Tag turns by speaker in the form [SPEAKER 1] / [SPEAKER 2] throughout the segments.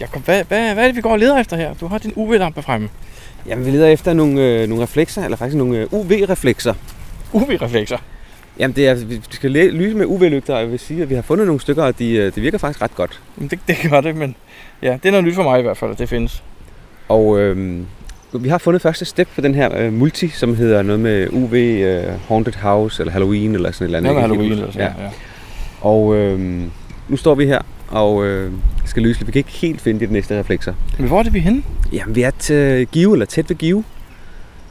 [SPEAKER 1] Jakob, hvad, hvad, hvad er det, vi går og leder efter her? Du har din UV-lampe fremme.
[SPEAKER 2] Jamen, vi leder efter nogle, øh, nogle reflekser, eller faktisk nogle øh, UV-reflekser.
[SPEAKER 1] UV-reflekser.
[SPEAKER 2] Jamen, det er, vi skal læ- lyse med UV-lygter, og jeg vil sige, at vi har fundet nogle stykker, og de, øh, det virker faktisk ret godt.
[SPEAKER 1] Jamen, det, det gør det, men ja, det er noget nyt for mig i hvert fald, at det findes.
[SPEAKER 2] Og øh, vi har fundet første step på den her øh, multi, som hedder noget med UV øh, Haunted House, eller Halloween, eller sådan et eller andet.
[SPEAKER 1] Noget med
[SPEAKER 2] Jeg kan
[SPEAKER 1] Halloween
[SPEAKER 2] ikke
[SPEAKER 1] eller
[SPEAKER 2] huske.
[SPEAKER 1] sådan ja. ja.
[SPEAKER 2] Ja. Og øh, nu står vi her og øh, skal lyse. lidt. Vi kan ikke helt finde de næste reflekser.
[SPEAKER 1] Men hvor er det, vi er henne?
[SPEAKER 2] Jamen, vi er til Give, eller tæt ved Give.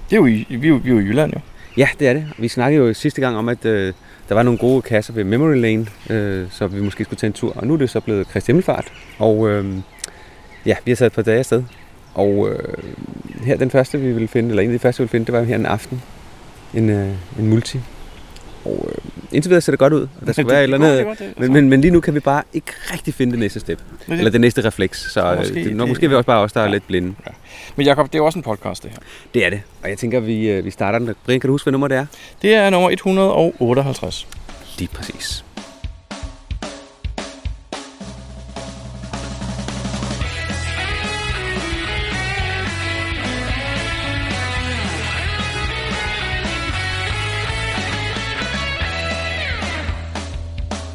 [SPEAKER 1] Det er jo i, vi, er jo, vi er jo i Jylland, jo.
[SPEAKER 2] Ja, det er det. Vi snakkede jo sidste gang om, at øh, der var nogle gode kasser ved Memory Lane, øh, så vi måske skulle tage en tur. Og nu er det så blevet Kristi Himmelfart. Og øh, ja, vi har sat et par dage afsted. Og øh, her den første, vi ville finde, eller en af de første, vi ville finde, det var her en aften. En, øh, en multi. Og øh, indtil videre ser det godt ud, og der skal være et eller andet... Men, men, men lige nu kan vi bare ikke rigtig finde det næste step, eller det næste refleks, så øh,
[SPEAKER 1] Måske
[SPEAKER 2] det, nok,
[SPEAKER 1] det-
[SPEAKER 2] måske er vi også bare os, der er
[SPEAKER 1] ja.
[SPEAKER 2] lidt blinde.
[SPEAKER 1] men Jacob, det er jo også en podcast, det her.
[SPEAKER 2] Det er det, og jeg tænker, vi, øh, vi starter den. Brian, kan du huske, hvad nummer det er?
[SPEAKER 1] Det er nummer 158.
[SPEAKER 2] Lige præcis.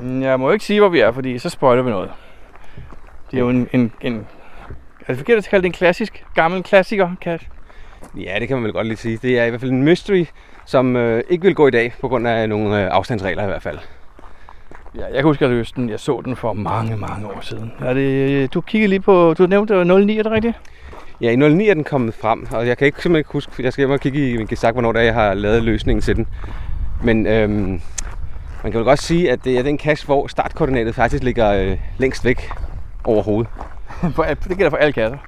[SPEAKER 1] Mm, Jeg må jo ikke sige, hvor vi er, fordi så spoiler vi noget. Det er jo en... en, en er det forkert at kalde det en klassisk, gammel klassiker, Cash?
[SPEAKER 2] Ja, det kan man vel godt lige sige. Det er i hvert fald en mystery, som øh, ikke vil gå i dag, på grund af nogle øh, afstandsregler i hvert fald.
[SPEAKER 1] Ja, jeg kan huske, at jeg løste den. Jeg så den for mange, mange år siden. Er det, øh, du kiggede lige på... Du nævnte det var 09, er det rigtigt?
[SPEAKER 2] Ja, i 09 er den kommet frem, og jeg kan ikke simpelthen ikke huske, jeg skal hjem og kigge i min gesak, hvornår det er, jeg har lavet løsningen til den. Men øhm, man kan vel godt sige, at det er den kasse, hvor startkoordinatet faktisk ligger øh, længst væk overhovedet.
[SPEAKER 1] For, alt- det gælder for alle kasser.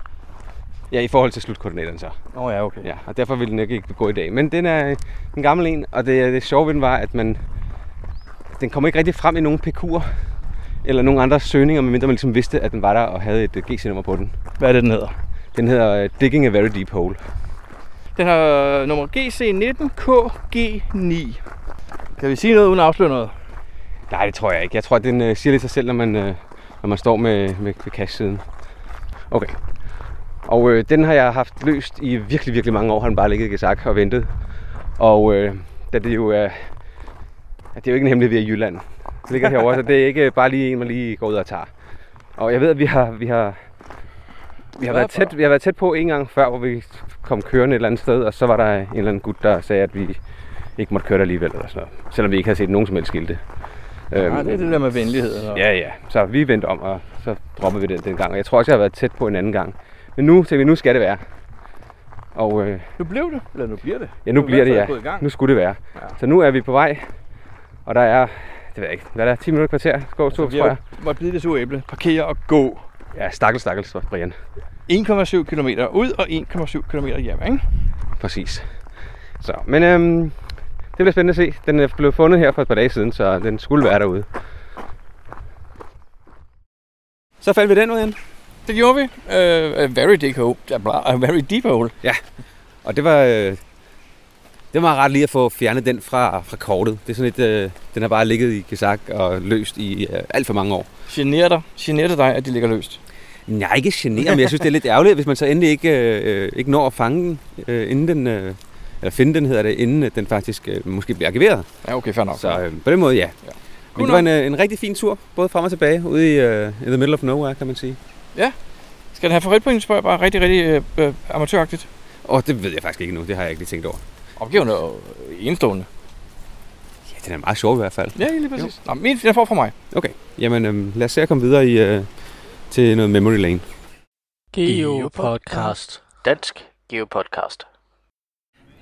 [SPEAKER 2] Ja, i forhold til slutkoordinaterne så.
[SPEAKER 1] Åh oh, ja, okay.
[SPEAKER 2] Ja, og derfor vil den ikke ikke gå i dag. Men den er øh, en gammel en, og det, det sjove ved den var, at man, den kommer ikke rigtig frem i nogen PQ'er eller nogen andre søgninger, medmindre man ligesom vidste, at den var der og havde et øh, GC-nummer på den.
[SPEAKER 1] Hvad er det, den hedder?
[SPEAKER 2] Den hedder øh, Digging a Very Deep Hole.
[SPEAKER 1] Den har øh, nummer GC19KG9. Kan vi sige noget uden at afsløre noget?
[SPEAKER 2] Nej, det tror jeg ikke. Jeg tror, at den øh, siger lidt sig selv, når man, øh, når man står med, med, med cash-siden. Okay. Og øh, den har jeg haft løst i virkelig, virkelig mange år. Har den bare ligget i gesak og ventet. Og øh, da det jo er... Øh, det er jo ikke en hemmelighed, vi er i Jylland. Det ligger herovre, så det er ikke øh, bare lige en, man lige går ud og tager. Og jeg ved, at vi har, vi har, vi har, været, tæt, vi har været tæt på en gang før, hvor vi kom kørende et eller andet sted, og så var der en eller anden gut, der sagde, at vi ikke måtte køre der alligevel, eller sådan noget. Selvom vi ikke havde set nogen som helst skilte. Øhm,
[SPEAKER 1] Nej, det er det der med venlighed. Eller?
[SPEAKER 2] Ja, ja. Så vi vendte om, og så droppede vi den den gang. Og jeg tror også, jeg har været tæt på en anden gang. Men nu tænkte vi, nu skal det være. Og øh,
[SPEAKER 1] Nu blev det, eller nu bliver det.
[SPEAKER 2] ja, nu
[SPEAKER 1] er i
[SPEAKER 2] bliver
[SPEAKER 1] hvert
[SPEAKER 2] det,
[SPEAKER 1] fald
[SPEAKER 2] ja.
[SPEAKER 1] gået i gang.
[SPEAKER 2] Nu skulle det være.
[SPEAKER 1] Ja.
[SPEAKER 2] Så nu er vi på vej, og der er, det ved jeg ikke, hvad er der 10 minutter kvarter gåtur,
[SPEAKER 1] vi
[SPEAKER 2] tror jeg.
[SPEAKER 1] har måtte blive det sure æble, parkere og gå.
[SPEAKER 2] Ja, stakkel, stakkel, så Brian.
[SPEAKER 1] 1,7 km ud og 1,7 km hjem, ikke?
[SPEAKER 2] Præcis. Så, men øhm, det bliver spændende at se. Den er blevet fundet her for et par dage siden, så den skulle være derude. Så fandt vi den ud igen.
[SPEAKER 1] Det gjorde vi. Uh, very deep hole. Ja, bla, a very deep hole.
[SPEAKER 2] Og det var, øh, det var ret lige at få fjernet den fra, fra kortet. Det er sådan et, øh, den har bare ligget i gesak og løst i øh, alt for mange år.
[SPEAKER 1] Generer dig. Generer det dig, at de ligger løst?
[SPEAKER 2] Jeg er ikke generet, men jeg synes, det er lidt ærgerligt, hvis man så endelig ikke, øh, ikke når at fange den, øh, inden den, øh, eller finde den hedder det, inden at den faktisk øh, måske bliver arkiveret.
[SPEAKER 1] Ja, okay, fair nok.
[SPEAKER 2] Så øh, på den måde, ja.
[SPEAKER 1] Ja.
[SPEAKER 2] Men det var en, øh, en rigtig fin tur, både frem og tilbage, ude i øh, in the middle of nowhere, kan man sige.
[SPEAKER 1] Skal den have favoritpoint, spørger jeg bare. Rigtig, rigtig øh, øh, amatøragtigt.
[SPEAKER 2] Og det ved jeg faktisk ikke nu, det har jeg ikke lige tænkt over.
[SPEAKER 1] Opgaven er jo enestående.
[SPEAKER 2] Ja, den er meget sjov i hvert fald.
[SPEAKER 1] Ja, lige præcis. Nå, min, den får fra mig.
[SPEAKER 2] Okay, jamen øh, lad os se at komme videre i, øh, til noget memory lane.
[SPEAKER 3] GeoPodcast. Dansk GeoPodcast.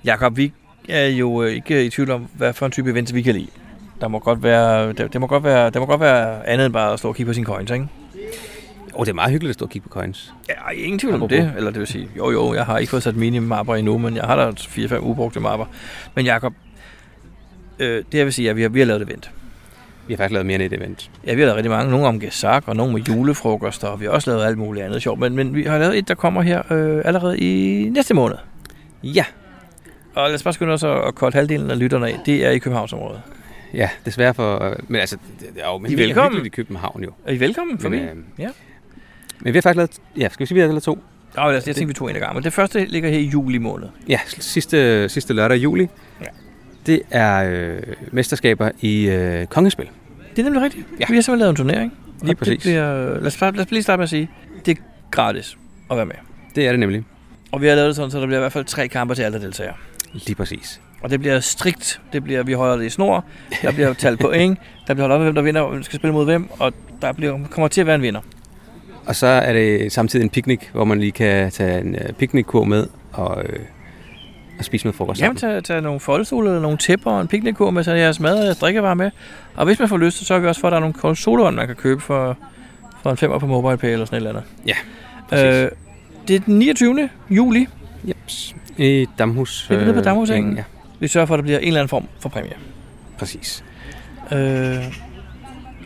[SPEAKER 1] Jakob, vi er jo øh, ikke i tvivl om, hvad for en type event vi kan lide. Der må godt være, der, det må godt være, der må godt være andet end bare at stå og kigge på sine coins, ikke?
[SPEAKER 2] Og det er meget hyggeligt at stå og kigge på coins.
[SPEAKER 1] Ja, ingen tvivl om
[SPEAKER 2] Apropos.
[SPEAKER 1] det. Eller det vil sige, jo jo, jeg har ikke fået sat minimapper endnu, men jeg har da 4-5 ubrugte mapper. Men Jakob, øh, det jeg vil sige er, at vi har, vi har lavet et event.
[SPEAKER 2] Vi har faktisk lavet mere end et event.
[SPEAKER 1] Ja, vi har lavet rigtig mange. Nogle om gesak, og nogle med julefrokoster, og vi har også lavet alt muligt andet sjovt. Men, men vi har lavet et, der kommer her øh, allerede i næste måned.
[SPEAKER 2] Ja,
[SPEAKER 1] Og lad os bare skynde os at at kolde halvdelen af lytterne af. Det er i Københavnsområdet.
[SPEAKER 2] ja, desværre for... Men altså, det, det er jo men
[SPEAKER 1] I er
[SPEAKER 2] det er
[SPEAKER 1] velkommen.
[SPEAKER 2] hyggeligt i København jo.
[SPEAKER 1] Er I velkommen forbi?
[SPEAKER 2] Men,
[SPEAKER 1] Men, øh,
[SPEAKER 2] øhm,
[SPEAKER 1] ja.
[SPEAKER 2] men vi har faktisk lavet... Ja, skal vi sige, vi har lavet to?
[SPEAKER 1] Nå, lad os, jeg tænkte, vi tog en af gangen. Men det første ligger her i juli måned.
[SPEAKER 2] Ja, s- sidste, sidste lørdag i juli.
[SPEAKER 1] Ja.
[SPEAKER 2] Det er øh, mesterskaber i øh, kongespil.
[SPEAKER 1] Det er nemlig rigtigt. Ja.
[SPEAKER 2] Ja.
[SPEAKER 1] Vi har simpelthen lavet en turnering.
[SPEAKER 2] Lige
[SPEAKER 1] Og Det
[SPEAKER 2] præcis.
[SPEAKER 1] bliver, lad, os, bare- lad os lige starte med at sige, det er gratis at være med.
[SPEAKER 2] Det er det nemlig.
[SPEAKER 1] Og vi har lavet det sådan, så der bliver i hvert fald tre kampe til alle der deltager.
[SPEAKER 2] Lige præcis.
[SPEAKER 1] Og det bliver strikt. Det bliver, vi holder det i snor. Der bliver talt point. Der bliver holdt op med, hvem der vinder, og hvem der skal spille mod hvem. Og der bliver, kommer til at være en vinder.
[SPEAKER 2] Og så er det samtidig en picnic, hvor man lige kan tage en øh, picnickurv med og, øh, og spise noget frokost
[SPEAKER 1] Jamen,
[SPEAKER 2] sammen.
[SPEAKER 1] tag, tag nogle foldestole eller nogle tæpper og en piknikkur med, så jeg jeres mad og jeres drikkevarer med. Og hvis man får lyst, så sørger vi også for, at der er nogle kolde sodavand, man kan købe for, for en femmer på MobilePay eller sådan et eller
[SPEAKER 2] Ja,
[SPEAKER 1] andet. Øh, det er den 29. juli.
[SPEAKER 2] Jeps. I Damhus.
[SPEAKER 1] Det er nede på Damhusengen.
[SPEAKER 2] engen, Ja,
[SPEAKER 1] Vi sørger for, at der bliver en eller anden form for præmie.
[SPEAKER 2] præcis.
[SPEAKER 1] Øh,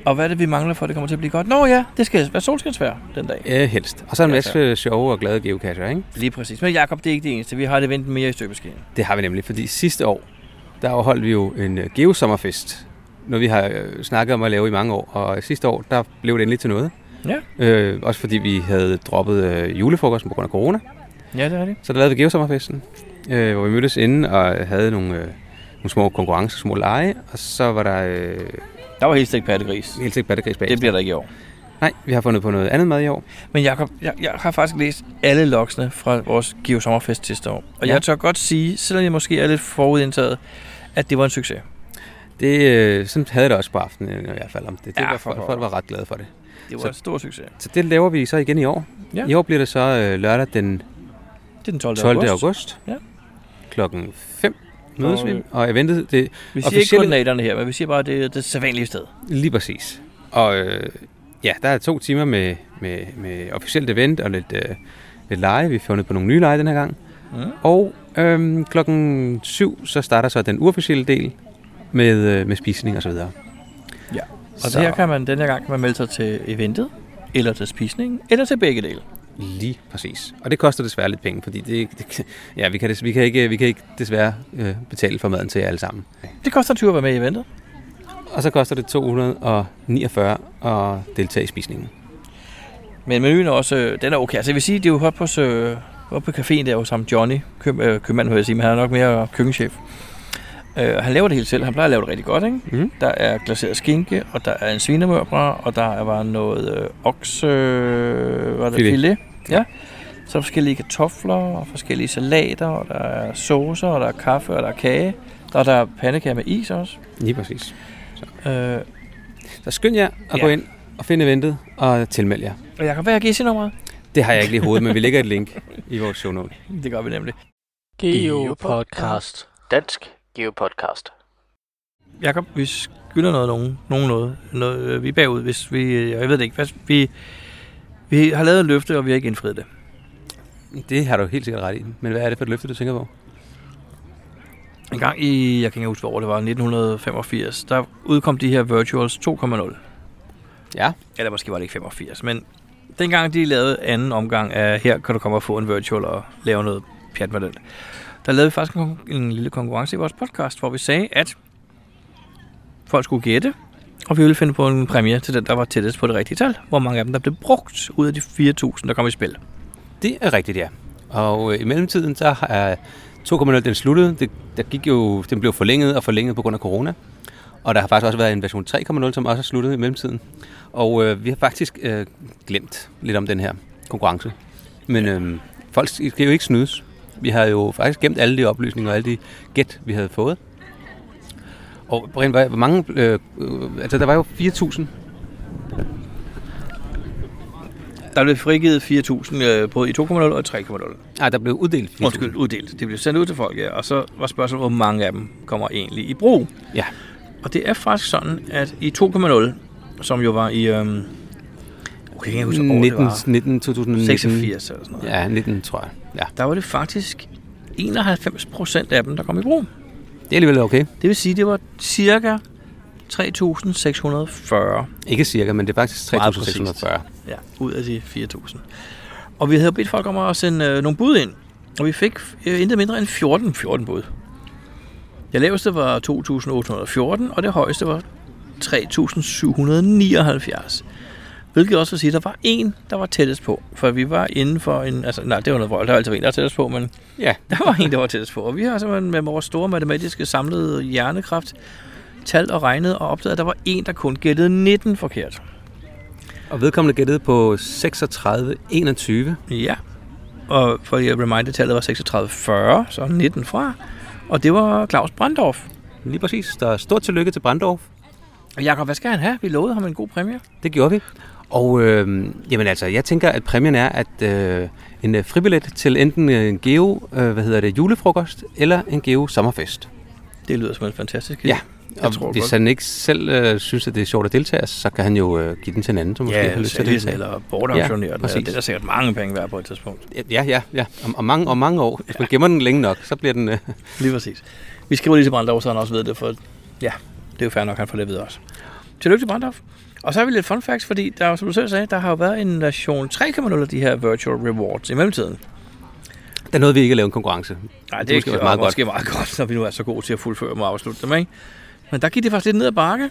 [SPEAKER 1] og hvad er det, vi mangler for, at det kommer til at blive godt? Nå ja, det skal være solskinsvær den dag.
[SPEAKER 2] Ja, helst. Og så en
[SPEAKER 1] Ja,
[SPEAKER 2] masse øh, sjove og glade geocacher, ikke?
[SPEAKER 1] Lige præcis. Men Jakob, det er ikke det eneste. Vi har det vendt mere i støbeskeen.
[SPEAKER 2] Det har vi nemlig, fordi sidste år, der afholdt vi jo en øh, geosommerfest, noget vi har øh, snakket om at lave i mange år, og sidste år, der blev det endelig til noget.
[SPEAKER 1] Ja.
[SPEAKER 2] Øh, også fordi vi havde droppet øh, julefrokosten på grund af corona,
[SPEAKER 1] Ja, det er det.
[SPEAKER 2] så der lavede vi geosommerfesten, øh, hvor vi mødtes inden og havde nogle, øh, nogle små konkurrencer, små lege, og så var der øh,
[SPEAKER 1] Der var helt stik pattegris.
[SPEAKER 2] helt sikkert battergris bag.
[SPEAKER 1] Det bliver der ikke i år.
[SPEAKER 2] Nej, vi har fundet på noget andet mad i år.
[SPEAKER 1] Men Jakob, jeg, jeg har faktisk læst alle loksene fra vores Geo Sommerfest sidste år. Og ja.
[SPEAKER 2] Ja.
[SPEAKER 1] jeg tør godt sige, selvom jeg måske er lidt forudindtaget, at det var en succes.
[SPEAKER 2] Det, øh, sådan havde jeg det også på aftenen øh, i hvert fald om det. det
[SPEAKER 1] Ja,
[SPEAKER 2] var,
[SPEAKER 1] for
[SPEAKER 2] folk,
[SPEAKER 1] pokker.
[SPEAKER 2] folk var ret glade for det.
[SPEAKER 1] Det var
[SPEAKER 2] Så-
[SPEAKER 1] en stor succes.
[SPEAKER 2] Så det laver vi så igen i år.
[SPEAKER 1] Ja.
[SPEAKER 2] I år bliver det så øh, lørdag den
[SPEAKER 1] Det er den 12.
[SPEAKER 2] 12. august.
[SPEAKER 1] august.
[SPEAKER 2] august.
[SPEAKER 1] Ja.
[SPEAKER 2] Klokken 5 mødes
[SPEAKER 1] Og,
[SPEAKER 2] vi,
[SPEAKER 1] øh,
[SPEAKER 2] og eventet det
[SPEAKER 1] Vi siger ikke
[SPEAKER 2] Officielle-
[SPEAKER 1] koordinaterne her, men vi siger bare, at det er det sædvanlige sted.
[SPEAKER 2] lige præcis. Og øh, ja, der er to timer med, med, med officielt event og lidt, øh, lidt lege. Vi har fundet på nogle nye lege den her gang.
[SPEAKER 1] Mm.
[SPEAKER 2] Og øh, klokken 7, så starter så den uofficielle del med, øh, med spisning og så videre.
[SPEAKER 1] Ja. Og
[SPEAKER 2] så
[SPEAKER 1] så. her kan man denne gang kan man melde sig til eventet, eller til spisningen, eller til begge dele.
[SPEAKER 2] Lige præcis. Og det koster desværre lidt penge, fordi det, det ja, vi, kan des, vi, kan ikke, vi kan ikke desværre øh, betale for maden til jer alle sammen.
[SPEAKER 1] Det koster 20 at være med i eventet.
[SPEAKER 2] Og så koster det 249 at deltage i spisningen.
[SPEAKER 1] Men menuen er også, øh, den er okay. Altså jeg vil sige, det er jo oppe, hos, øh, oppe på caféen der hos ham Johnny, køb, øh, købmand vil jeg sige, men han er nok mere køkkenchef. Øh, han laver det hele selv, han plejer at lave det rigtig godt, ikke?
[SPEAKER 2] Mm.
[SPEAKER 1] Der er glaseret skinke, og der er en svinemørbra, og der var noget øh, okse... Øh, var det
[SPEAKER 2] Filet.
[SPEAKER 1] filet? Ja. Så er der forskellige kartofler, og forskellige salater, og der er saucer, og der er kaffe, og der er kage. Og der er pandekager med is også.
[SPEAKER 2] Lige præcis.
[SPEAKER 1] Øh,
[SPEAKER 2] Så skynd jer at
[SPEAKER 1] Ja.
[SPEAKER 2] ja. gå ind og finde eventet og tilmeld jer.
[SPEAKER 1] og Jacob, hvad er GC-nummeret?
[SPEAKER 2] Det har jeg ikke lige i hovedet, men vi lægger et link i vores show note.
[SPEAKER 1] Det gør vi nemlig.
[SPEAKER 3] Geopodcast. Dansk Geopodcast.
[SPEAKER 1] Jakob, vi skylder noget nogen, nogen noget. noget øh, vi er bagud, hvis vi... øh, Jeg ved det ikke. Hvad, vi, vi har lavet et løfte, og vi har ikke indfriet det.
[SPEAKER 2] Det har du helt sikkert ret i. Men hvad er det for et løfte, du tænker på?
[SPEAKER 1] En gang i, jeg kan ikke huske, hvor det var, 1985, der udkom de her Virtuals 2.0.
[SPEAKER 2] Ja.
[SPEAKER 1] Eller måske var det ikke 85, men dengang de lavede anden omgang af, her kan du komme og få en Virtual og lave noget pjat med den. Der lavede vi faktisk en, kon- en lille konkurrence i vores podcast, hvor vi sagde, at folk skulle gætte, og vi ville finde på en præmie til den, der var tættest på det rigtige tal. Hvor mange af dem, der blev brugt ud af de 4.000, der kom i spil.
[SPEAKER 2] Det er rigtigt, ja. Og øh, i mellemtiden, så er 2.0 den sluttet. Det, der gik jo, den blev forlænget og forlænget på grund af corona. Og der har faktisk også været en version 3.0, som også er sluttet i mellemtiden. Og øh, vi har faktisk øh, glemt lidt om den her konkurrence. Men øh, folk skal jo ikke snydes. Vi har jo faktisk gemt alle de oplysninger og alle de gæt, vi havde fået. Og Brian, hvor hvor mange... Øh, øh, altså, der var jo 4.000.
[SPEAKER 1] Der blev frigivet 4.000 øh, både i 2.0 og i 3.0.
[SPEAKER 2] Nej, Ah, der blev uddelt 4.000.
[SPEAKER 1] Undskyld, uddelt. Det blev sendt ud til folk, ja. Og så var spørgsmålet, hvor mange af dem kommer egentlig i brug.
[SPEAKER 2] Ja.
[SPEAKER 1] Og det er faktisk sådan, at i 2.0, som jo var i øhm, kan ikke huske, hvor det
[SPEAKER 2] 19,
[SPEAKER 1] var.
[SPEAKER 2] 19, 2019.
[SPEAKER 1] 86 eller sådan noget.
[SPEAKER 2] Ja, 19, tror jeg. Ja,
[SPEAKER 1] Der var det faktisk 91 procent af dem, der kom i brug.
[SPEAKER 2] det er alligevel okay.
[SPEAKER 1] Det vil sige, det var cirka 3.640
[SPEAKER 2] Ikke cirka, men det er faktisk
[SPEAKER 1] Meget
[SPEAKER 2] 3.640.
[SPEAKER 1] ja, ud af de 4.000. Og vi havde bedt folk om at sende øh, nogle bud ind, og vi fik øh, intet mindre end 14, 14 bud. Det laveste var 2.814, og det højeste var 3.779. Hvilket også vil sige, at der var en, der var tættest på. For vi var inden for en... Altså, nej, det var noget vrøvl. Der var altid en, der var tættest på, men
[SPEAKER 2] Ja,
[SPEAKER 1] der var en, der var tættest på. Og vi har simpelthen med vores store matematiske samlede hjernekraft talt og regnet og opdaget, at der var en, der kun gættede 19 forkert.
[SPEAKER 2] og vedkommende gættede på 36, 21.
[SPEAKER 1] Ja, og for at reminde, tallet var 3640, så 19 fra. Og det var Claus Brandorf.
[SPEAKER 2] Lige præcis. Der er stort tillykke til Brandorf.
[SPEAKER 1] Og Jakob, hvad skal han have? Vi lovede ham en god præmie.
[SPEAKER 2] Det gjorde vi. Og øh, jamen altså, jeg tænker, at præmien er, at øh, en øh, fribillet til enten øh, en Geo, øh, hvad hedder det, julefrokost, eller en Geo sommerfest.
[SPEAKER 1] Det lyder som en fantastisk idé.
[SPEAKER 2] Ja,
[SPEAKER 1] Jeg
[SPEAKER 2] og
[SPEAKER 1] tror
[SPEAKER 2] hvis
[SPEAKER 1] godt.
[SPEAKER 2] han ikke selv øh, synes, at det er sjovt at deltage, så kan han jo øh, give den til en anden, som måske
[SPEAKER 1] Ja,
[SPEAKER 2] har lyst til at
[SPEAKER 1] sælge den
[SPEAKER 2] deltage.
[SPEAKER 1] eller bortauktionere
[SPEAKER 2] Ja,
[SPEAKER 1] den.
[SPEAKER 2] præcis.
[SPEAKER 1] Det er sikkert mange penge værd på et tidspunkt.
[SPEAKER 2] Ja, ja, ja. Om, om, mange, om mange år. Hvis man gemmer den længe nok, så bliver den... Øh,
[SPEAKER 1] Lige præcis. Vi skriver lige til Brandorf, så han også ved det, for ja, det er jo fair nok, han får det videre også. Tillykke til Brandorf. Og så har vi lidt fun facts, fordi der, er jo, som du selv sagde, der har jo været en version 3.0 af de her virtual rewards i mellemtiden.
[SPEAKER 2] der nåede vi ikke at lave en konkurrence.
[SPEAKER 1] Nej, det
[SPEAKER 2] Det
[SPEAKER 1] er måske
[SPEAKER 2] er måske også
[SPEAKER 1] meget
[SPEAKER 2] meget
[SPEAKER 1] måske godt. meget godt, når vi nu er så gode til at fuldføre dem og afslutte dem, ikke? Men der gik det faktisk lidt ned ad bakke.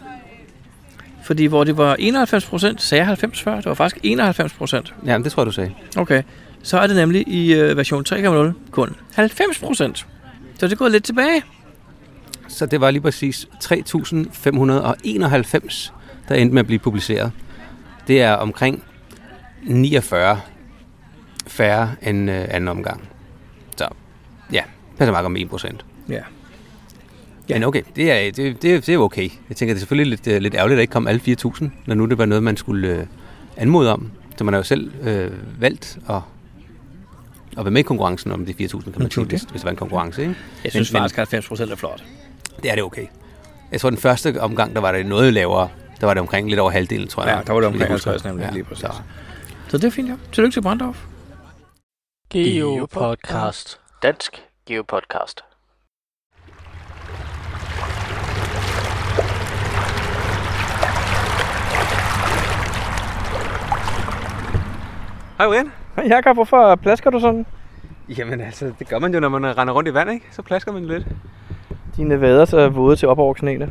[SPEAKER 1] Fordi hvor det var 91 procent, sagde jeg 90 før, det var faktisk 91 procent.
[SPEAKER 2] Ja, men det tror jeg, du sagde.
[SPEAKER 1] Okay, så er det nemlig i øh, version 3.0 kun 90 procent. Så det er gået lidt tilbage.
[SPEAKER 2] Så det var lige præcis 3.591, der endte med at blive publiceret. Det er omkring 49 færre end øh, anden omgang. Så ja, passer meget om 1 procent.
[SPEAKER 1] Ja.
[SPEAKER 2] Ja. Men okay, det er, det, det, er- det er okay. Jeg tænker, det er selvfølgelig lidt, øh, lidt ærgerligt, at der ikke kom alle 4.000, når nu det var noget, man skulle øh, anmode om. Så man har jo selv øh, valgt at, at være med i konkurrencen om de 4.000, kan man
[SPEAKER 1] det er
[SPEAKER 2] sige,
[SPEAKER 1] det.
[SPEAKER 2] hvis, hvis det var en konkurrence. Ikke?
[SPEAKER 1] Jeg synes
[SPEAKER 2] men-
[SPEAKER 1] faktisk, at 90 procent er flot.
[SPEAKER 2] Det er det okay. Jeg tror, den første omgang, der var det noget lavere. Der var det omkring lidt over halvdelen, tror jeg.
[SPEAKER 1] Ja, der var det
[SPEAKER 2] Så vidt jeg
[SPEAKER 1] omkring
[SPEAKER 2] husker.
[SPEAKER 1] 50 nemlig, lige præcis.
[SPEAKER 2] så-
[SPEAKER 1] Så det er fint, ja. Tillykke til Brandorf.
[SPEAKER 3] Geo Podcast. Dansk Geo Podcast.
[SPEAKER 2] Hej, Brian.
[SPEAKER 1] Hej Jakob, hvorfor plasker du sådan?
[SPEAKER 2] Jamen altså, det gør man jo, når man render rundt i vand, ikke? Så plasker man lidt.
[SPEAKER 1] Dine vader er våde til op over knæene.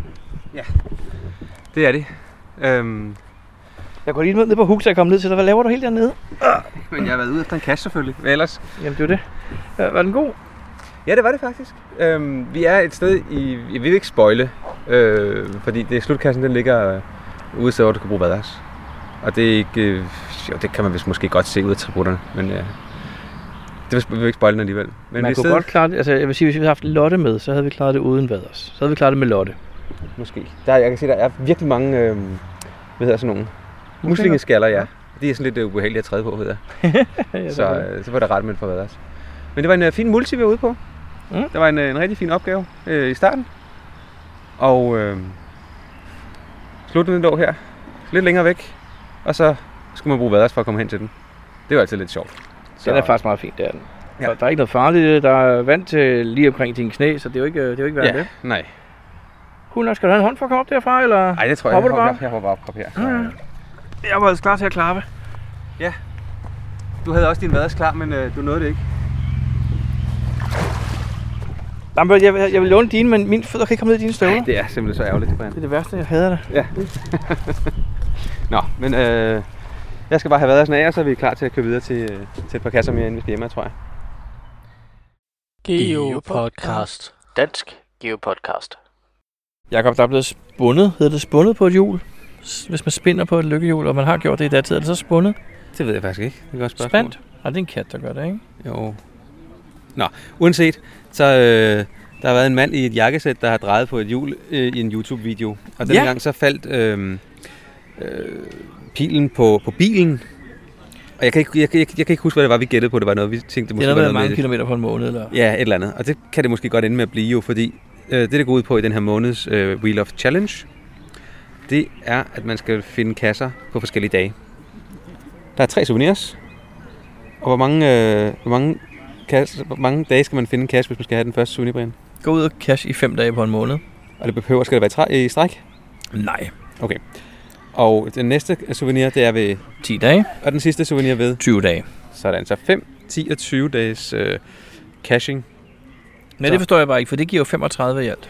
[SPEAKER 2] Det er det. Øhm,
[SPEAKER 1] Jeg går lige ned på huk, så jeg kommer ned til dig. Hvad laver du helt dernede?
[SPEAKER 2] men jeg har været ude efter en kasse selvfølgelig. Hvad ellers?
[SPEAKER 1] Jamen, det er det. Var den god?
[SPEAKER 2] Ja, det var det faktisk. Øhm, vi er et sted i... Jeg vil ikke spoile, øh, fordi det er slutkassen, den ligger øh, ude et sted, hvor du kan bruge vaders. Og det er ikke... Øh, jo, det kan man vist måske godt se ud af tributterne, men øh, det vil vi ikke spoile den alligevel. Men
[SPEAKER 1] Man
[SPEAKER 2] et
[SPEAKER 1] kunne
[SPEAKER 2] sted-
[SPEAKER 1] godt klare det. Altså, jeg vil sige, hvis vi havde haft Lotte med, så havde vi klaret det uden vaders. Så havde vi klaret det med Lotte.
[SPEAKER 2] Måske. Der, jeg kan se, der er virkelig mange, øh, hvad hedder sådan nogle, muslingeskaller, ja. De er sådan lidt øh, ubehagelige at træde på, ved jeg.
[SPEAKER 1] ja,
[SPEAKER 2] Så, øh, så var det ret med en forvaders. Men det var en øh, fin multi, vi var ude på.
[SPEAKER 1] Mm.
[SPEAKER 2] Der var en, øh, en rigtig fin opgave øh, i starten. Og øh, slutningen lå her, lidt længere væk. Og så skulle man bruge vaders for at komme hen til den. Det var altid lidt sjovt.
[SPEAKER 1] Den er faktisk meget fin, det er den.
[SPEAKER 2] Ja.
[SPEAKER 1] Ja. Der er ikke noget farligt. i det. Der er vand til lige omkring dine knæ, så det er jo ikke, øh, det er jo ikke værd
[SPEAKER 2] ja,
[SPEAKER 1] ja. det.
[SPEAKER 2] nej.
[SPEAKER 1] Hun nok, skal du have en hånd for at komme op derfra, eller?
[SPEAKER 2] Nej, det tror jeg.
[SPEAKER 1] Hopper
[SPEAKER 2] jeg,
[SPEAKER 1] du
[SPEAKER 2] hopper,
[SPEAKER 1] bare?
[SPEAKER 2] op, jeg hopper op, op her. Så,
[SPEAKER 1] Mm.
[SPEAKER 2] øh,
[SPEAKER 1] Jeg var altså klar til at klappe.
[SPEAKER 2] Du havde også din vaders klar, men øh, du nåede det ikke.
[SPEAKER 1] Jamen, jeg, jeg, jeg vil låne dine, men mine fødder kan ikke komme ned i dine støvler.
[SPEAKER 2] Det er simpelthen så ærgerligt, Brian.
[SPEAKER 1] Det er det værste, jeg hader det.
[SPEAKER 2] Nå, men øh, jeg skal bare have været sådan af, og så er vi klar til at køre videre til, øh, til et par kasser mere, inden vi skal hjemme, tror jeg.
[SPEAKER 3] Geo Podcast. Dansk Geo Podcast.
[SPEAKER 1] Jakob, der er blevet spundet. Hedder det spundet på et hjul? S- Hvis man spinder på et lykkehjul, og man har gjort det i datid, er det så spundet?
[SPEAKER 2] Det ved jeg faktisk ikke. Det er godt
[SPEAKER 1] Spændt? Nej, det er en kat, der gør det, ikke?
[SPEAKER 2] Jo. Nå, uanset, så øh, der har været en mand i et jakkesæt, der har drejet på et hjul øh, i en YouTube-video. Og den
[SPEAKER 1] Ja.
[SPEAKER 2] ja. gang så faldt øh, øh, pilen på, på bilen. Og jeg kan, ikke, jeg, kan- jeg, kan- jeg kan ikke huske, hvad det var, vi gættede på. Det var noget, vi tænkte, det
[SPEAKER 1] Det
[SPEAKER 2] måske
[SPEAKER 1] er
[SPEAKER 2] var
[SPEAKER 1] noget med
[SPEAKER 2] noget
[SPEAKER 1] mange
[SPEAKER 2] med-
[SPEAKER 1] kilometer på en måned, eller?
[SPEAKER 2] Ja, et eller andet. Og det kan det måske godt ende med at blive jo, fordi øh, det, det går ud på i den her måneds øh, Wheel of Challenge, det er, at man skal finde kasser på forskellige dage. Der er tre souvenirs. Og hvor mange, øh, hvor mange, kasse, hvor mange dage skal man finde en kasse, hvis man skal have den første souvenir, Brian?
[SPEAKER 1] Gå ud og cash i fem dage på en måned.
[SPEAKER 2] Og det behøver, skal det være i, træ, i stræk.
[SPEAKER 1] Nej.
[SPEAKER 2] Og den næste souvenir, det er ved...
[SPEAKER 1] 10 dage.
[SPEAKER 2] Og den sidste souvenir ved...
[SPEAKER 1] 20 dage.
[SPEAKER 2] Sådan, så 5, 10 og 20 dages øh, caching.
[SPEAKER 1] Nej,
[SPEAKER 2] Så.
[SPEAKER 1] det forstår jeg bare ikke, for det giver jo 35 i alt.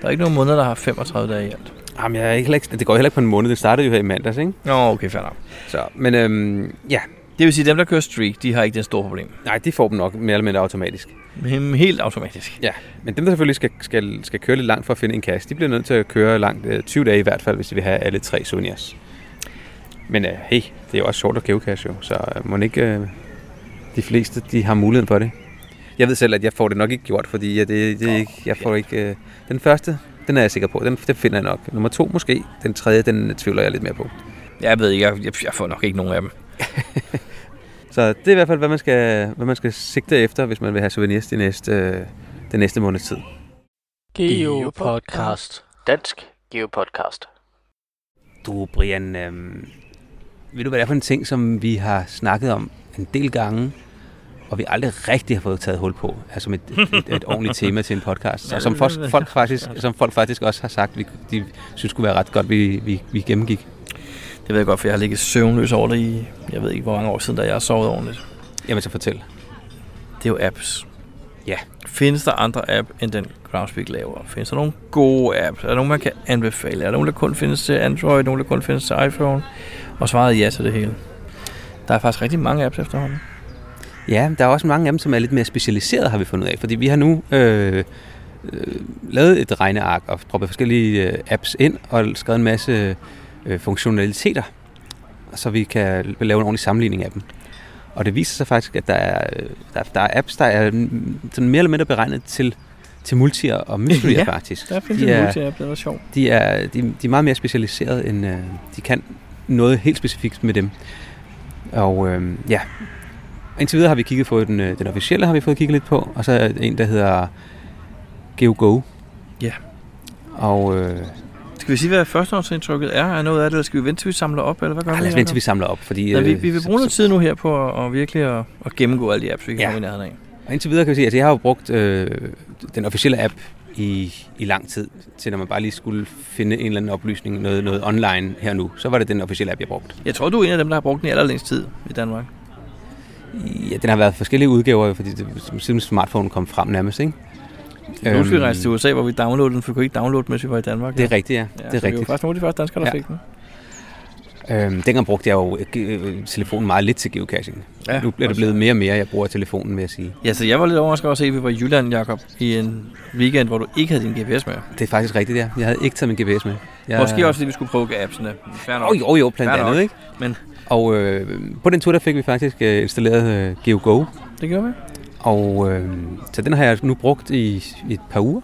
[SPEAKER 1] Der er ikke nogen måneder, der har 35 dage i alt.
[SPEAKER 2] Jamen, jeg er ikke, heller ikke- det går heller ikke på en måned. Det startede jo her i mandags, ikke?
[SPEAKER 1] Nå, okay, fair nok.
[SPEAKER 2] Så, men øhm, ja,
[SPEAKER 1] Det vil sige, at dem, der kører streak, de har ikke det store problem.
[SPEAKER 2] nej, de får dem nok mere eller mindre automatisk.
[SPEAKER 1] Hem- Helt automatisk.
[SPEAKER 2] Men dem, der selvfølgelig skal, skal, skal køre lidt langt for at finde en kasse, de bliver nødt til at køre langt øh, 20 dage i hvert fald, hvis de vil have alle tre souvenirs. Men øh, hey, det er jo også sjovt at købe kasse jo, så øh, må ikke øh, de fleste de har muligheden for det. Jeg ved selv, at jeg får det nok ikke gjort, fordi jeg, det, det er ikke, jeg får ikke... Øh, den første, den er jeg sikker på, den, den finder jeg nok. Nummer to måske, den tredje, den øh, tvivler jeg lidt mere på.
[SPEAKER 1] Jeg ved ikke, jeg, jeg får nok ikke nogen af dem.
[SPEAKER 2] Så det er i hvert fald, hvad man skal, hvad man skal sigte efter, hvis man vil have souvenirs de næste, øh, den næste måneds tid.
[SPEAKER 3] Geo Podcast. Dansk Geo Podcast.
[SPEAKER 2] Du, Brian, øh, ved du, hvad det er for en ting, som vi har snakket om en del gange, og vi aldrig rigtig har fået taget hul på, altså som et, et, et ordentligt tema til en podcast, og som folk, folk, faktisk, som folk faktisk også har sagt, vi, de synes kunne være ret godt, vi, vi, vi gennemgik.
[SPEAKER 1] Det ved jeg godt, for jeg har ligget søvnløs over det i, jeg ved ikke, hvor mange år siden, da jeg har sovet ordentligt.
[SPEAKER 2] Jamen så fortæl.
[SPEAKER 1] Det er jo apps.
[SPEAKER 2] Ja.
[SPEAKER 1] Findes der andre app, end den Groundspeak laver? Findes der nogle gode apps? Er der nogen, man kan anbefale? Er der nogen, der kun findes til Android? Nogen, der kun findes til iPhone? Og svaret er ja til det hele. Der er faktisk rigtig mange apps efterhånden.
[SPEAKER 2] Ja, der er også mange af dem, som er lidt mere specialiserede, har vi fundet ud af. Fordi vi har nu øh, øh, lavet et regneark og proppet forskellige øh, apps ind og skrevet en masse øh, funktionaliteter, så vi kan lave en ordentlig sammenligning af dem. Og det viser sig faktisk, at der er, øh, der, der er apps, der er mm, sådan mere eller mindre beregnet til, til multier og mysteryer
[SPEAKER 1] Ja,
[SPEAKER 2] faktisk.
[SPEAKER 1] Der findes
[SPEAKER 2] de,
[SPEAKER 1] en
[SPEAKER 2] er,
[SPEAKER 1] multi-app, det var sjovt.
[SPEAKER 2] de, er, de, de er meget mere specialiserede, end øh, de kan noget helt specifikt med dem. Og øh, ja, indtil videre har vi kigget på den, øh, den officielle, har vi fået kigget lidt på, og så er der en, der hedder GeoGo.
[SPEAKER 1] Ja.
[SPEAKER 2] Og øh,
[SPEAKER 1] Skal vi sige, hvad førsteårsindtrykket er? Er noget af det, eller skal vi vente, til vi samler op? Eller hvad gør
[SPEAKER 2] ej, Ah, lad os vente, til vi samler op, fordi...
[SPEAKER 1] Ja, vi,
[SPEAKER 2] øh,
[SPEAKER 1] vi vil
[SPEAKER 2] så-
[SPEAKER 1] bruge noget
[SPEAKER 2] så-
[SPEAKER 1] tid nu her på at, at virkelig at, at gennemgå alle de apps, vi kan ja.
[SPEAKER 2] Ja.
[SPEAKER 1] komme i nærheden af.
[SPEAKER 2] Og indtil videre kan vi sige, at altså, jeg har jo brugt øh, den officielle app i, i lang tid, til når man bare lige skulle finde en eller anden oplysning, noget, noget online her nu, så var det den officielle app, jeg brugte.
[SPEAKER 1] Jeg tror, du er en af dem, der har brugt den i allerlængst tid i Danmark.
[SPEAKER 2] Ja, den har været forskellige udgaver, fordi det, siden smartphone kom frem nærmest, ikke?
[SPEAKER 1] Øhm. Nu skal vi rejse til USA, hvor vi downloadede den, for vi kunne ikke downloade den, mens vi var i Danmark.
[SPEAKER 2] Det er rigtigt, ja.
[SPEAKER 1] ja,
[SPEAKER 2] ja det
[SPEAKER 1] så
[SPEAKER 2] er
[SPEAKER 1] Vi var
[SPEAKER 2] rigtigt.
[SPEAKER 1] faktisk nogle af de første danskere, der
[SPEAKER 2] Ja.
[SPEAKER 1] fik den.
[SPEAKER 2] Øhm, dengang brugte jeg jo øh, telefonen meget lidt til geocaching.
[SPEAKER 1] Ja,
[SPEAKER 2] Ja, nu bliver det blevet mere og mere, jeg bruger telefonen, vil jeg sige.
[SPEAKER 1] Ja, så jeg var lidt overrasket over at se, at vi var i Jylland, Jacob, i en weekend, hvor du ikke havde din GPS med.
[SPEAKER 2] Det er faktisk rigtigt, ja. Jeg havde ikke taget min GPS med. Jeg,
[SPEAKER 1] Ja. Måske også, fordi vi skulle prøve appsene. Fair nok.
[SPEAKER 2] Jo, jo, jo, blandt
[SPEAKER 1] Fair nok.
[SPEAKER 2] andet, ikke?
[SPEAKER 1] Men-
[SPEAKER 2] Og øh, på den tur, der fik vi faktisk øh, installeret øh, GeoGo,
[SPEAKER 1] Det gjorde vi.
[SPEAKER 2] og øh, så den har jeg nu brugt i, i et par uger.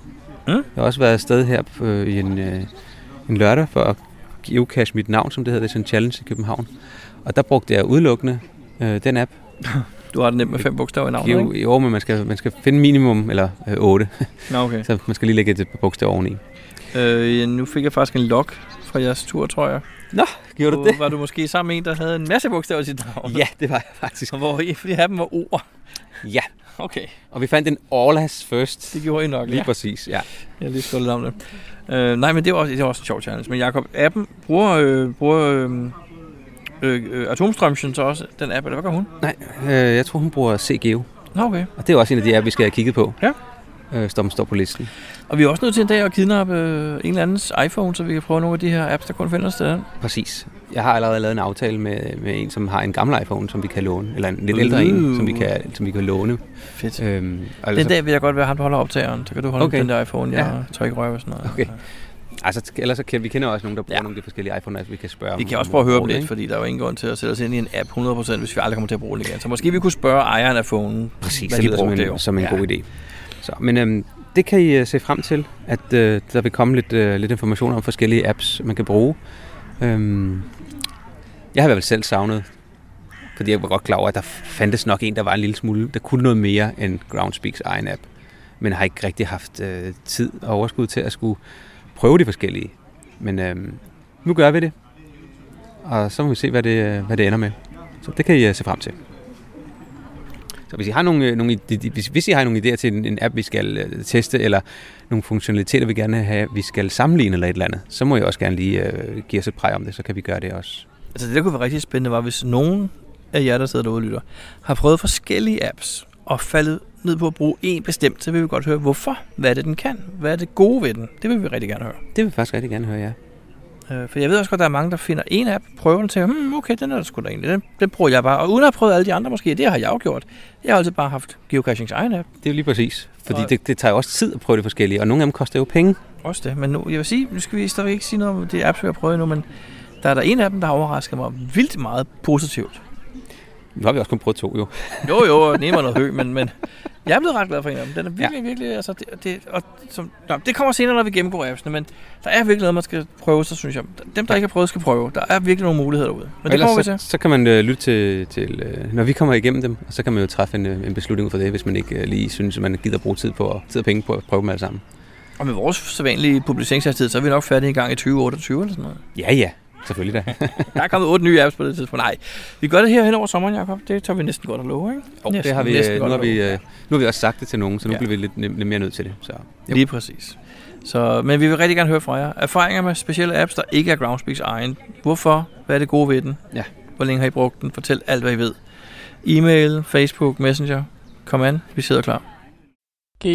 [SPEAKER 1] Mm.
[SPEAKER 2] Jeg har også været afsted her øh, i en, øh, en lørdag for at geocache mit navn, som det hedder, det er sådan en challenge i København. Og der brugte jeg udelukkende øh, den app,
[SPEAKER 1] Du har det nemt med fem bogstaver i navnet,
[SPEAKER 2] Jo,
[SPEAKER 1] ikke?
[SPEAKER 2] jo, men man skal, man skal finde minimum, eller øh, 8,
[SPEAKER 1] Nå, okay.
[SPEAKER 2] så man skal lige lægge et par bogstaver oveni.
[SPEAKER 1] Øh, nu fik jeg faktisk en log fra jeres tur, tror jeg.
[SPEAKER 2] Gjorde
[SPEAKER 1] Hvor- Var du måske sammen med en, der havde en masse bogstaver i sit navn?
[SPEAKER 2] Ja, det var jeg faktisk.
[SPEAKER 1] Og Hvor I, fordi af dem var ord.
[SPEAKER 2] Ja,
[SPEAKER 1] Okay,
[SPEAKER 2] og vi fandt en Orlas first.
[SPEAKER 1] det gjorde I nok.
[SPEAKER 2] Lige
[SPEAKER 1] Ja.
[SPEAKER 2] præcis, ja.
[SPEAKER 1] Jeg har lige skrevet lidt om det. Øh, nej, men det var, også, det var også en sjov challenge. Men Jacob, appen bruger, øh, bruger øh, øh, øh, Atomstrømsen så også den app, eller hvad gør hun?
[SPEAKER 2] Nej, øh, jeg tror, hun bruger CGO,
[SPEAKER 1] Nå, okay.
[SPEAKER 2] og det er også en af de apps, vi skal have kigget på.
[SPEAKER 1] Ja.
[SPEAKER 2] Øh, som står på listen.
[SPEAKER 1] Og vi er også nødt til en dag at kidnappe øh, en eller andens iPhone, så vi kan prøve nogle af de her apps, der kun findes til den.
[SPEAKER 2] Præcis. Jeg har allerede lavet en aftale med, med en, som har en gammel iPhone, som vi kan låne. Eller en lidt ældre en, som vi kan, som vi kan låne.
[SPEAKER 1] Fedt.
[SPEAKER 2] Øhm, og
[SPEAKER 1] Den dag vil jeg godt være ham, der holder optageren. Så kan du holde okay.
[SPEAKER 2] Okay.
[SPEAKER 1] den der iPhone, jeg
[SPEAKER 2] Ja.
[SPEAKER 1] tør ikke røre ved sådan noget.
[SPEAKER 2] Okay. Altså, ellers så kan, vi kender også nogen, der bruger
[SPEAKER 1] Ja.
[SPEAKER 2] ja. nogle af de forskellige iPhones, vi kan spørge
[SPEAKER 1] Vi
[SPEAKER 2] om-
[SPEAKER 1] kan også
[SPEAKER 2] om
[SPEAKER 1] prøve at høre dem
[SPEAKER 2] råd,
[SPEAKER 1] lidt,
[SPEAKER 2] ikke?
[SPEAKER 1] fordi der er jo ingen grund til at sætte os ind i en app 100%, hvis vi aldrig kommer til at bruge den igen. Så måske vi kunne spørge ejeren af phonen,
[SPEAKER 2] Præcis,
[SPEAKER 1] hvad
[SPEAKER 2] det
[SPEAKER 1] de
[SPEAKER 2] lyder som
[SPEAKER 1] brugte
[SPEAKER 2] en,
[SPEAKER 1] jo.
[SPEAKER 2] som en
[SPEAKER 1] Ja.
[SPEAKER 2] god idé. Så, men øhm, det kan I øh, se frem til, at øh, der vil komme lidt, øh, lidt information om forskellige apps, man kan bruge. Øhm, jeg har i hvert fald selv savnet, fordi jeg var godt klar over, at der fandtes nok en, der var en lille smule, der kunne noget mere end Groundspeaks egen app, men har ikke rigtig haft øh, tid og overskud til at skulle prøve de forskellige. Men øhm, nu gør vi det, og så må vi se, hvad det, øh, hvad det ender med. Så det kan I øh, se frem til. Så hvis I har nogle, øh, nogle ide- de- hvis, hvis I har nogle idéer til en, en app, vi skal øh, teste, eller nogle funktionaliteter, vi gerne vil have, vi skal sammenligne eller et eller andet, så må I også gerne lige øh, give os et præg om det, så kan vi gøre det også.
[SPEAKER 1] Altså det, der kunne være rigtig spændende, var hvis nogen af jer, der sidder derude og lytter, har prøvet forskellige apps og faldet ned på at bruge en bestemt, så vil vi godt høre, hvorfor? Hvad er det, den kan? Hvad er det gode ved den? Det vil vi rigtig gerne høre.
[SPEAKER 2] Det vil jeg faktisk rigtig gerne høre jer.
[SPEAKER 1] Øh, for jeg ved også godt, at der er mange, der finder en app, prøver den og tænker, hmm, okay, den er der sgu da egentlig. Den, den bruger jeg bare. Og uden at have prøvet alle de andre måske, det har jeg jo gjort. Jeg har altid bare haft geocachings egen app.
[SPEAKER 2] Det er jo lige præcis. Fordi
[SPEAKER 1] Og-
[SPEAKER 2] det, det tager jo også tid at prøve det forskellige, og nogle af dem koster jo penge.
[SPEAKER 1] Også det. Men nu, jeg vil sige, nu skal vi stadigvæk ikke sige noget om de apps, vi har prøvet endnu, men der er der en af dem, der har overrasket mig vildt meget positivt.
[SPEAKER 2] Nu har vi også kun prøvet to jo.
[SPEAKER 1] Jo, jo, og den ene var noget høg, men, men jeg er blevet ret glad for en af dem. Den er virkelig, ja. virkelig, altså, det, det, og, som, nå, det kommer senere, når vi gennemgår appsene, men der er virkelig noget, man skal prøve, så synes jeg. Dem, der ikke har prøvet, skal prøve. Der er virkelig nogle muligheder derude. Men
[SPEAKER 2] Og
[SPEAKER 1] det
[SPEAKER 2] ellers
[SPEAKER 1] kommer vi
[SPEAKER 2] så,
[SPEAKER 1] til.
[SPEAKER 2] så kan man øh, lytte til, til øh, når vi kommer igennem dem, og så kan man jo træffe en, øh, en beslutning ud fra det, hvis man ikke øh, lige synes, at man gider bruge tid på og, tid og penge på at prøve dem alle sammen.
[SPEAKER 1] Og med vores sædvanlige publiceringshastighed, så er vi nok færdige i gang i 2028 eller sådan noget.
[SPEAKER 2] Ja, ja. Selvfølgelig da.
[SPEAKER 1] Der er kommet otte nye apps på det tidspunkt. Nej, vi gør det her hen over sommeren, Jacob. Det tager vi næsten godt at love, ikke?
[SPEAKER 2] Jo,
[SPEAKER 1] Næsten,
[SPEAKER 2] det har vi,
[SPEAKER 1] næsten
[SPEAKER 2] øh, nu,
[SPEAKER 1] godt
[SPEAKER 2] har
[SPEAKER 1] at
[SPEAKER 2] vi,
[SPEAKER 1] love.
[SPEAKER 2] øh, nu har vi også sagt det til nogen, så nu
[SPEAKER 1] Ja.
[SPEAKER 2] ja. bliver vi lidt, lidt mere nødt til det. Så. Jo.
[SPEAKER 1] Lige præcis. Så, men vi vil rigtig gerne høre fra jer. Erfaringer med specielle apps, der ikke er Groundspeaks egen. Hvorfor? Hvad er det gode ved den?
[SPEAKER 2] Ja.
[SPEAKER 1] Hvor længe har I brugt den? Fortæl alt, hvad I ved. E-mail, Facebook, Messenger. Kom an, vi sidder klar.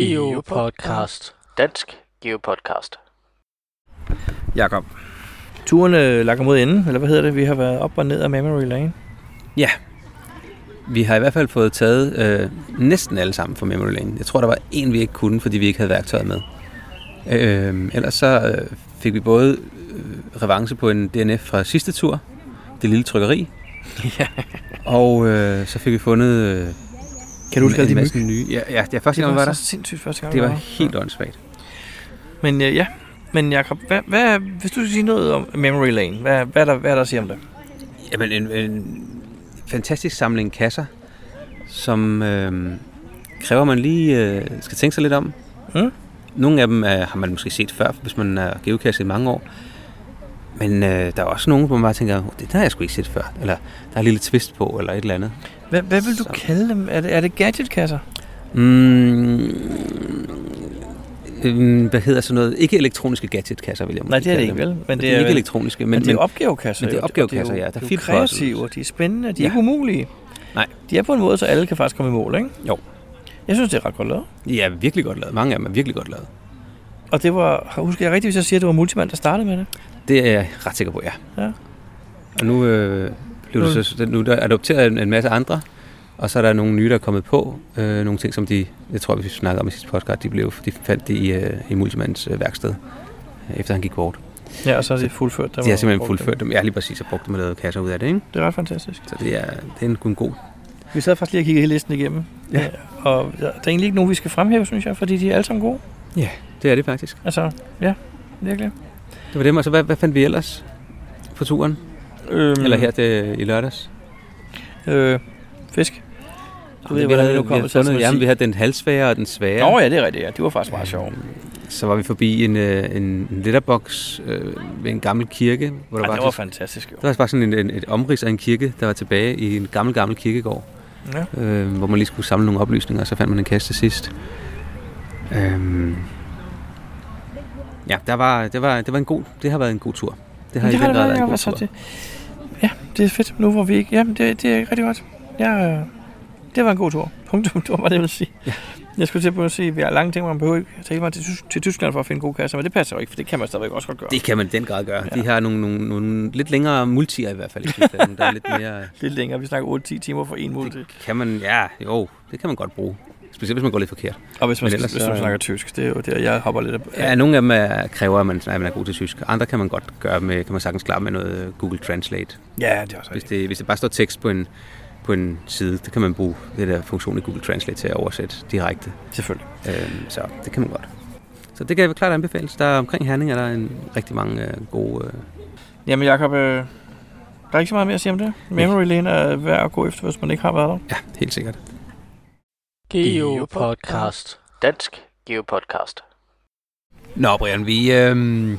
[SPEAKER 3] Geopodcast. Dansk Geopodcast.
[SPEAKER 1] Jakob. Turen øh, lakker mod enden, eller hvad hedder det? Vi har været op og ned af Memory Lane.
[SPEAKER 2] Vi har i hvert fald fået taget øh, næsten alle sammen fra Memory Lane. Jeg tror, der var en, vi ikke kunne, fordi vi ikke havde værktøjet med. Øh, ellers så øh, fik vi både øh, revanche på en DNF fra sidste tur, det lille trykkeri,
[SPEAKER 1] Ja.
[SPEAKER 2] og øh, så fik vi fundet... Øh,
[SPEAKER 1] Kan du huske
[SPEAKER 2] en-
[SPEAKER 1] alle de myg?
[SPEAKER 2] en masse nye? Ja, ja, det er første gang, vi var
[SPEAKER 1] så
[SPEAKER 2] der.
[SPEAKER 1] sindssygt første gang.
[SPEAKER 2] Det
[SPEAKER 1] vi
[SPEAKER 2] var
[SPEAKER 1] der.
[SPEAKER 2] helt åndssvagt.
[SPEAKER 1] Men øh, ja, men Jacob, hvad, hvad, hvis du skal sige noget om Memory Lane, hvad, hvad, er der, hvad er der at sige om det?
[SPEAKER 2] Jamen, en, en fantastisk samling kasser, som øh, kræver, at man lige øh, skal tænke sig lidt om.
[SPEAKER 1] Mm.
[SPEAKER 2] Nogle af dem øh, har man måske set før, hvis man har geocachet i mange år. Men øh, der er også nogle, hvor man bare tænker, oh, det der har jeg sgu ikke set før. Eller der er et lille twist på, eller et eller andet.
[SPEAKER 1] Hvad, hvad vil du
[SPEAKER 2] Så-
[SPEAKER 1] kalde dem? Er det, er det gadgetkasser?
[SPEAKER 2] Mm, øh, hvad hedder sådan noget? Ikke elektroniske gadgetkasser, vil jeg måske
[SPEAKER 1] Nej, det er det
[SPEAKER 2] kalde
[SPEAKER 1] ikke,
[SPEAKER 2] dem.
[SPEAKER 1] vel? Men
[SPEAKER 2] Det er, ikke
[SPEAKER 1] vel-
[SPEAKER 2] elektroniske,
[SPEAKER 1] Men,
[SPEAKER 2] men,
[SPEAKER 1] det er
[SPEAKER 2] men
[SPEAKER 1] opgavekasser.
[SPEAKER 2] men det er
[SPEAKER 1] jo.
[SPEAKER 2] opgavekasser,
[SPEAKER 1] Og det er jo-
[SPEAKER 2] ja. Der er
[SPEAKER 1] det er jo
[SPEAKER 2] flip puzzles.
[SPEAKER 1] kreative, de er spændende, de er
[SPEAKER 2] Ja.
[SPEAKER 1] ikke umulige.
[SPEAKER 2] Nej.
[SPEAKER 1] De er på en måde, så alle kan faktisk komme i mål, ikke?
[SPEAKER 2] Jo.
[SPEAKER 1] Jeg synes, det er ret godt lavet.
[SPEAKER 2] ja, virkelig godt lavet. Mange af dem er virkelig godt lavet.
[SPEAKER 1] Og det var, husker jeg rigtigt, hvis jeg siger, at det var Multiman, der startede med det?
[SPEAKER 2] Det er jeg ret sikker på, ja.
[SPEAKER 1] Ja.
[SPEAKER 2] Og nu, øh, blev
[SPEAKER 1] Nu-
[SPEAKER 2] du så, nu er der adopteret en, en masse andre, og så er der nogle nye, der er kommet på. Øh, nogle ting, som de, jeg tror, vi snakkede om i sidste podcast, de, blev, de fandt de i, øh, i Multimans øh, værksted, øh, efter han gik bort.
[SPEAKER 1] Ja, og så er det fuldført. Der
[SPEAKER 2] De
[SPEAKER 1] var
[SPEAKER 2] har simpelthen
[SPEAKER 1] brugt
[SPEAKER 2] fuldført dem. Jeg har lige præcis og brugt dem og lavet kasser ud af det, ikke?
[SPEAKER 1] dem. Det er ret fantastisk.
[SPEAKER 2] Så det er, det er en, en god...
[SPEAKER 1] Vi sad faktisk lige og kiggede hele listen igennem.
[SPEAKER 2] Ja.
[SPEAKER 1] Og der er egentlig ikke nogen, vi skal fremhæve, synes jeg, fordi de er alle sammen gode.
[SPEAKER 2] Det er det faktisk.
[SPEAKER 1] Altså, ja, virkelig.
[SPEAKER 2] Det var dem, og så hvad, hvad fandt vi ellers på turen? Mm.
[SPEAKER 1] Øhm,
[SPEAKER 2] Eller her det, i lørdags?
[SPEAKER 1] Øh, fisk. Du ved,
[SPEAKER 2] Vi
[SPEAKER 1] hvordan vi
[SPEAKER 2] havde-
[SPEAKER 1] nu kommer
[SPEAKER 2] vi
[SPEAKER 1] til at
[SPEAKER 2] havde fundet,
[SPEAKER 1] sige.
[SPEAKER 2] Jamen, vi havde den halvsvære og den svære.
[SPEAKER 1] Ja. Nå ja, det er rigtigt, ja. Det var faktisk meget sjovt.
[SPEAKER 2] Så var vi forbi en, øh, en en letterbox øh, ved en gammel kirke, hvor der
[SPEAKER 1] Ej,
[SPEAKER 2] var,
[SPEAKER 1] det var fantastisk, jo.
[SPEAKER 2] der var faktisk sådan en, en, et omrids af en kirke, der var tilbage i en gammel, gammel kirkegård,
[SPEAKER 1] Ja.
[SPEAKER 2] øh, hvor man lige skulle samle nogle oplysninger, og så fandt man en kasse til sidst. Øhm, ja, der var, det, var, det, var en god, det har været en god tur. Det har i
[SPEAKER 1] det
[SPEAKER 2] den
[SPEAKER 1] har det
[SPEAKER 2] grad været
[SPEAKER 1] været, Jacob.
[SPEAKER 2] en god
[SPEAKER 1] Altså,
[SPEAKER 2] tur.
[SPEAKER 1] det, ja, det er fedt nu, hvor vi ikke... Jamen, det, det er rigtig godt. Jeg, øh, det var en god tur. Punktum, det var bare det, jeg ville sige. Ja. Jeg skulle til at begynde at sige, at vi har lange ting, hvor man behøver ikke tage mig til, Tys- til Tyskland for at finde gode kasser, men det passer jo ikke, for det kan man stadigvæk også godt gøre.
[SPEAKER 2] Det kan man i den grad gøre. Ja. De har nogle, nogle, nogle lidt længere multier i hvert fald. i Tyskland, der er lidt mere...
[SPEAKER 1] Lidt længere, vi snakker 8-10 timer for en mål.
[SPEAKER 2] Det kan man, ja, jo, det kan man godt bruge. Specielt hvis man går lidt forkert.
[SPEAKER 1] Og hvis man,
[SPEAKER 2] men
[SPEAKER 1] skal,
[SPEAKER 2] ellers
[SPEAKER 1] hvis
[SPEAKER 2] så-
[SPEAKER 1] man snakker tysk, det er jo der, jeg hopper lidt af.
[SPEAKER 2] Ja, nogle af dem er, kræver, at man, at man er god til tysk. Andre kan man godt gøre med, kan man sagtens klare med noget øh, Google Translate.
[SPEAKER 1] ja, det er også
[SPEAKER 2] Hvis
[SPEAKER 1] rigtigt.
[SPEAKER 2] det, hvis det bare står tekst på en, på en side, det kan man bruge den der funktion i Google Translate til at oversætte direkte.
[SPEAKER 1] Selvfølgelig.
[SPEAKER 2] Øhm, så det kan man godt. Så det kan jeg klart anbefale. Der er omkring Herning er der en, rigtig mange øh, gode... Øh,
[SPEAKER 1] Jamen Jacob, øh, der er ikke så meget mere at sige om det. Memory Lane er værd at gå efter, hvis man ikke har været der.
[SPEAKER 2] ja, helt sikkert.
[SPEAKER 3] Geopodcast. Dansk Geopodcast.
[SPEAKER 2] Nå, Brian, vi... Øh,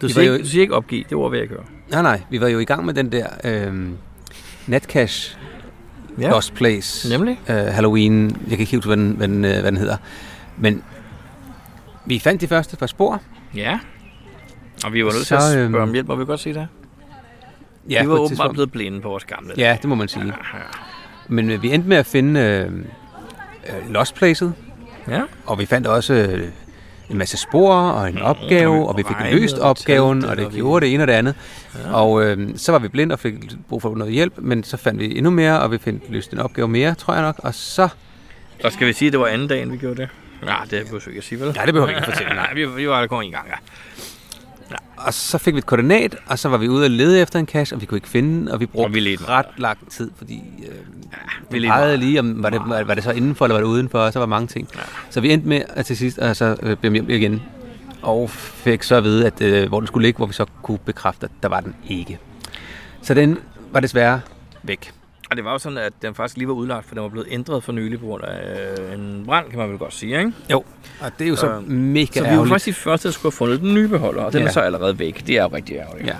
[SPEAKER 1] Du
[SPEAKER 2] siger ikke-
[SPEAKER 1] du siger ikke opgive, det ord vil jeg ikke høre.
[SPEAKER 2] Nej, nej, vi var jo i gang med den der øh, Netcash, ja.
[SPEAKER 1] Ja,
[SPEAKER 2] Lost Place,
[SPEAKER 1] nemlig.
[SPEAKER 2] øh, Halloween, jeg kan ikke huske, hvad den, hvad, den, øh, hvad den hedder. Men vi fandt de første par spor.
[SPEAKER 1] Ja. Og vi var nødt til
[SPEAKER 2] Så,
[SPEAKER 1] at spørge
[SPEAKER 2] øhm,
[SPEAKER 1] om hjælp, og vi godt se det.
[SPEAKER 2] Ja,
[SPEAKER 1] Ja, vi
[SPEAKER 2] på
[SPEAKER 1] var
[SPEAKER 2] et
[SPEAKER 1] åbenbart
[SPEAKER 2] tidspunkt.
[SPEAKER 1] blevet blinde på vores gamle.
[SPEAKER 2] Ja, det må man sige. Men øh, vi endte med at finde øh, øh, Lost Placet,
[SPEAKER 1] Ja.
[SPEAKER 2] og vi fandt også øh, en masse spor og en opgave, og vi fik
[SPEAKER 1] regnede
[SPEAKER 2] løst
[SPEAKER 1] og
[SPEAKER 2] opgaven,
[SPEAKER 1] talte,
[SPEAKER 2] Mm, og det
[SPEAKER 1] og vi-
[SPEAKER 2] gjorde det ene og det andet. Og øh, så var vi blind og fik brug for noget hjælp, men så fandt vi endnu mere, og vi fandt løst en opgave mere, tror jeg nok. Og så...
[SPEAKER 1] Og skal vi sige, at det var anden dagen, vi gjorde det? Nej, det behøver vi ikke at sige, vel?
[SPEAKER 2] Nej, det behøver vi ikke at fortælle, nej.
[SPEAKER 1] Nej, vi, vi var der kun en gang, ja.
[SPEAKER 2] Og så fik vi et koordinat, og så var vi ude og lede efter en cash, og vi kunne ikke finde den, og vi brugte
[SPEAKER 1] Og vi ledte
[SPEAKER 2] ret lang tid, fordi øh, ja,
[SPEAKER 1] vi
[SPEAKER 2] vi
[SPEAKER 1] ledte
[SPEAKER 2] legede
[SPEAKER 1] meget.
[SPEAKER 2] lige, om var det, var, var det så indenfor, eller var det udenfor, og så var mange ting. Ja. Så vi endte med at til sidst og så øh, blive hjem igen, og fik så at vide, at, øh, hvor den skulle ligge, hvor vi så kunne bekræfte, at der var den ikke. Så den var desværre væk.
[SPEAKER 1] Og det var jo sådan, at den faktisk lige var udlagt, for den var blevet ændret for nylig på grund af øh, en brand, kan man vel godt sige, ikke?
[SPEAKER 2] Jo, og det er jo så
[SPEAKER 1] Øh,
[SPEAKER 2] øh, mega
[SPEAKER 1] Så vi var
[SPEAKER 2] ærgerligt.
[SPEAKER 1] faktisk de første, der skulle have fundet den nye beholder, og den ja. er
[SPEAKER 2] Ja.
[SPEAKER 1] så allerede væk. Det er jo rigtig ærgerligt.
[SPEAKER 2] Ja.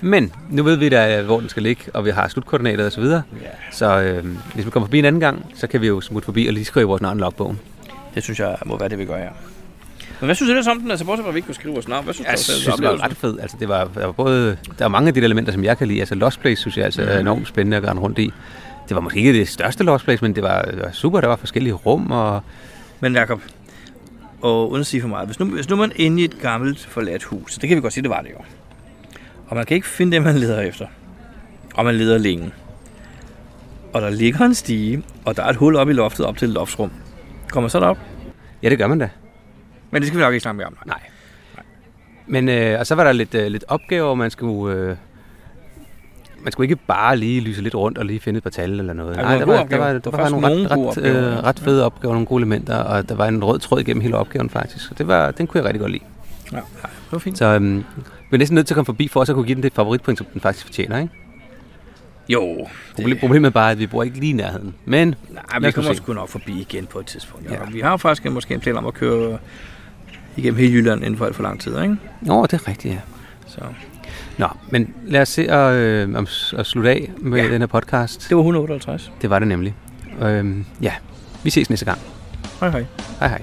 [SPEAKER 2] Men nu ved vi da, øh, hvor den skal ligge, og vi har slutkoordinater og så videre.
[SPEAKER 1] Ja.
[SPEAKER 2] Så øh, hvis vi kommer forbi en anden gang, så kan vi jo smutte forbi og lige skrive vores navn i logbogen.
[SPEAKER 1] Det synes jeg må være det, vi gør her. Men hvad synes du ellers om den? Altså, bortset fra, at vi ikke kunne skrive vores navn. Hvad synes du
[SPEAKER 2] Jeg
[SPEAKER 1] selv om
[SPEAKER 2] synes, det var
[SPEAKER 1] oplevelsen?
[SPEAKER 2] ret fedt. Altså, det var, der var både, der var mange af de der elementer, som jeg kan lide. Altså, Lost Place synes jeg altså,
[SPEAKER 1] Mhm.
[SPEAKER 2] er enormt spændende at rende rundt i. Det var måske ikke det største Lost Place, men det var, det var super. Der var forskellige rum, og
[SPEAKER 1] Men Jacob, og uden at sige for meget, hvis nu, hvis nu man er inde i et gammelt forladt hus, det kan vi godt sige, det var det jo, og man kan ikke finde det, man leder efter, og man leder længe, og der ligger en stige, og der er et hul op i loftet op til et loftsrum, kommer man så derop?
[SPEAKER 2] ja, det gør man da.
[SPEAKER 1] Men det skal vi nok ikke snakke mere om.
[SPEAKER 2] Nej. Men, øh, og så var der lidt, øh, lidt opgaver, man skulle... Øh, man skulle ikke bare lige lyse lidt rundt og lige finde et par tal eller noget.
[SPEAKER 1] der var
[SPEAKER 2] der
[SPEAKER 1] gode
[SPEAKER 2] var, der
[SPEAKER 1] opgaver.
[SPEAKER 2] var,
[SPEAKER 1] Der
[SPEAKER 2] der
[SPEAKER 1] var
[SPEAKER 2] var,
[SPEAKER 1] faktisk
[SPEAKER 2] nogle ret,
[SPEAKER 1] nogle gode
[SPEAKER 2] ret,
[SPEAKER 1] opgaver, ja.
[SPEAKER 2] øh, ret fede opgaver, nogle gode elementer, og der var en rød tråd igennem hele opgaven faktisk. Så det, var, den kunne jeg rigtig godt lide.
[SPEAKER 1] Ja, nej, det var fint.
[SPEAKER 2] Så øhm, vi er næsten nødt til at komme forbi for også at kunne give den det favoritpoint, som den faktisk fortjener. Ikke?
[SPEAKER 1] Jo,
[SPEAKER 2] Proble- problemet er bare, at vi bor ikke lige i nærheden. Men
[SPEAKER 1] Nej,
[SPEAKER 2] Lad
[SPEAKER 1] vi
[SPEAKER 2] os
[SPEAKER 1] kommer
[SPEAKER 2] nu
[SPEAKER 1] også
[SPEAKER 2] se.
[SPEAKER 1] kun nok forbi igen på et tidspunkt. Ja.
[SPEAKER 2] Ja.
[SPEAKER 1] Vi har jo faktisk en- måske en plan om at køre igennem hele Jylland inden for alt for lang tid, ikke?
[SPEAKER 2] Nå, det er rigtigt, ja.
[SPEAKER 1] Så
[SPEAKER 2] Nå, men lad os se at, øh, om, at slutte af med
[SPEAKER 1] Ja.
[SPEAKER 2] ja. den her podcast.
[SPEAKER 1] det var 158.
[SPEAKER 2] Det var det nemlig. Øhm, ja, vi ses næste gang.
[SPEAKER 1] Hej hej.
[SPEAKER 2] Hej hej.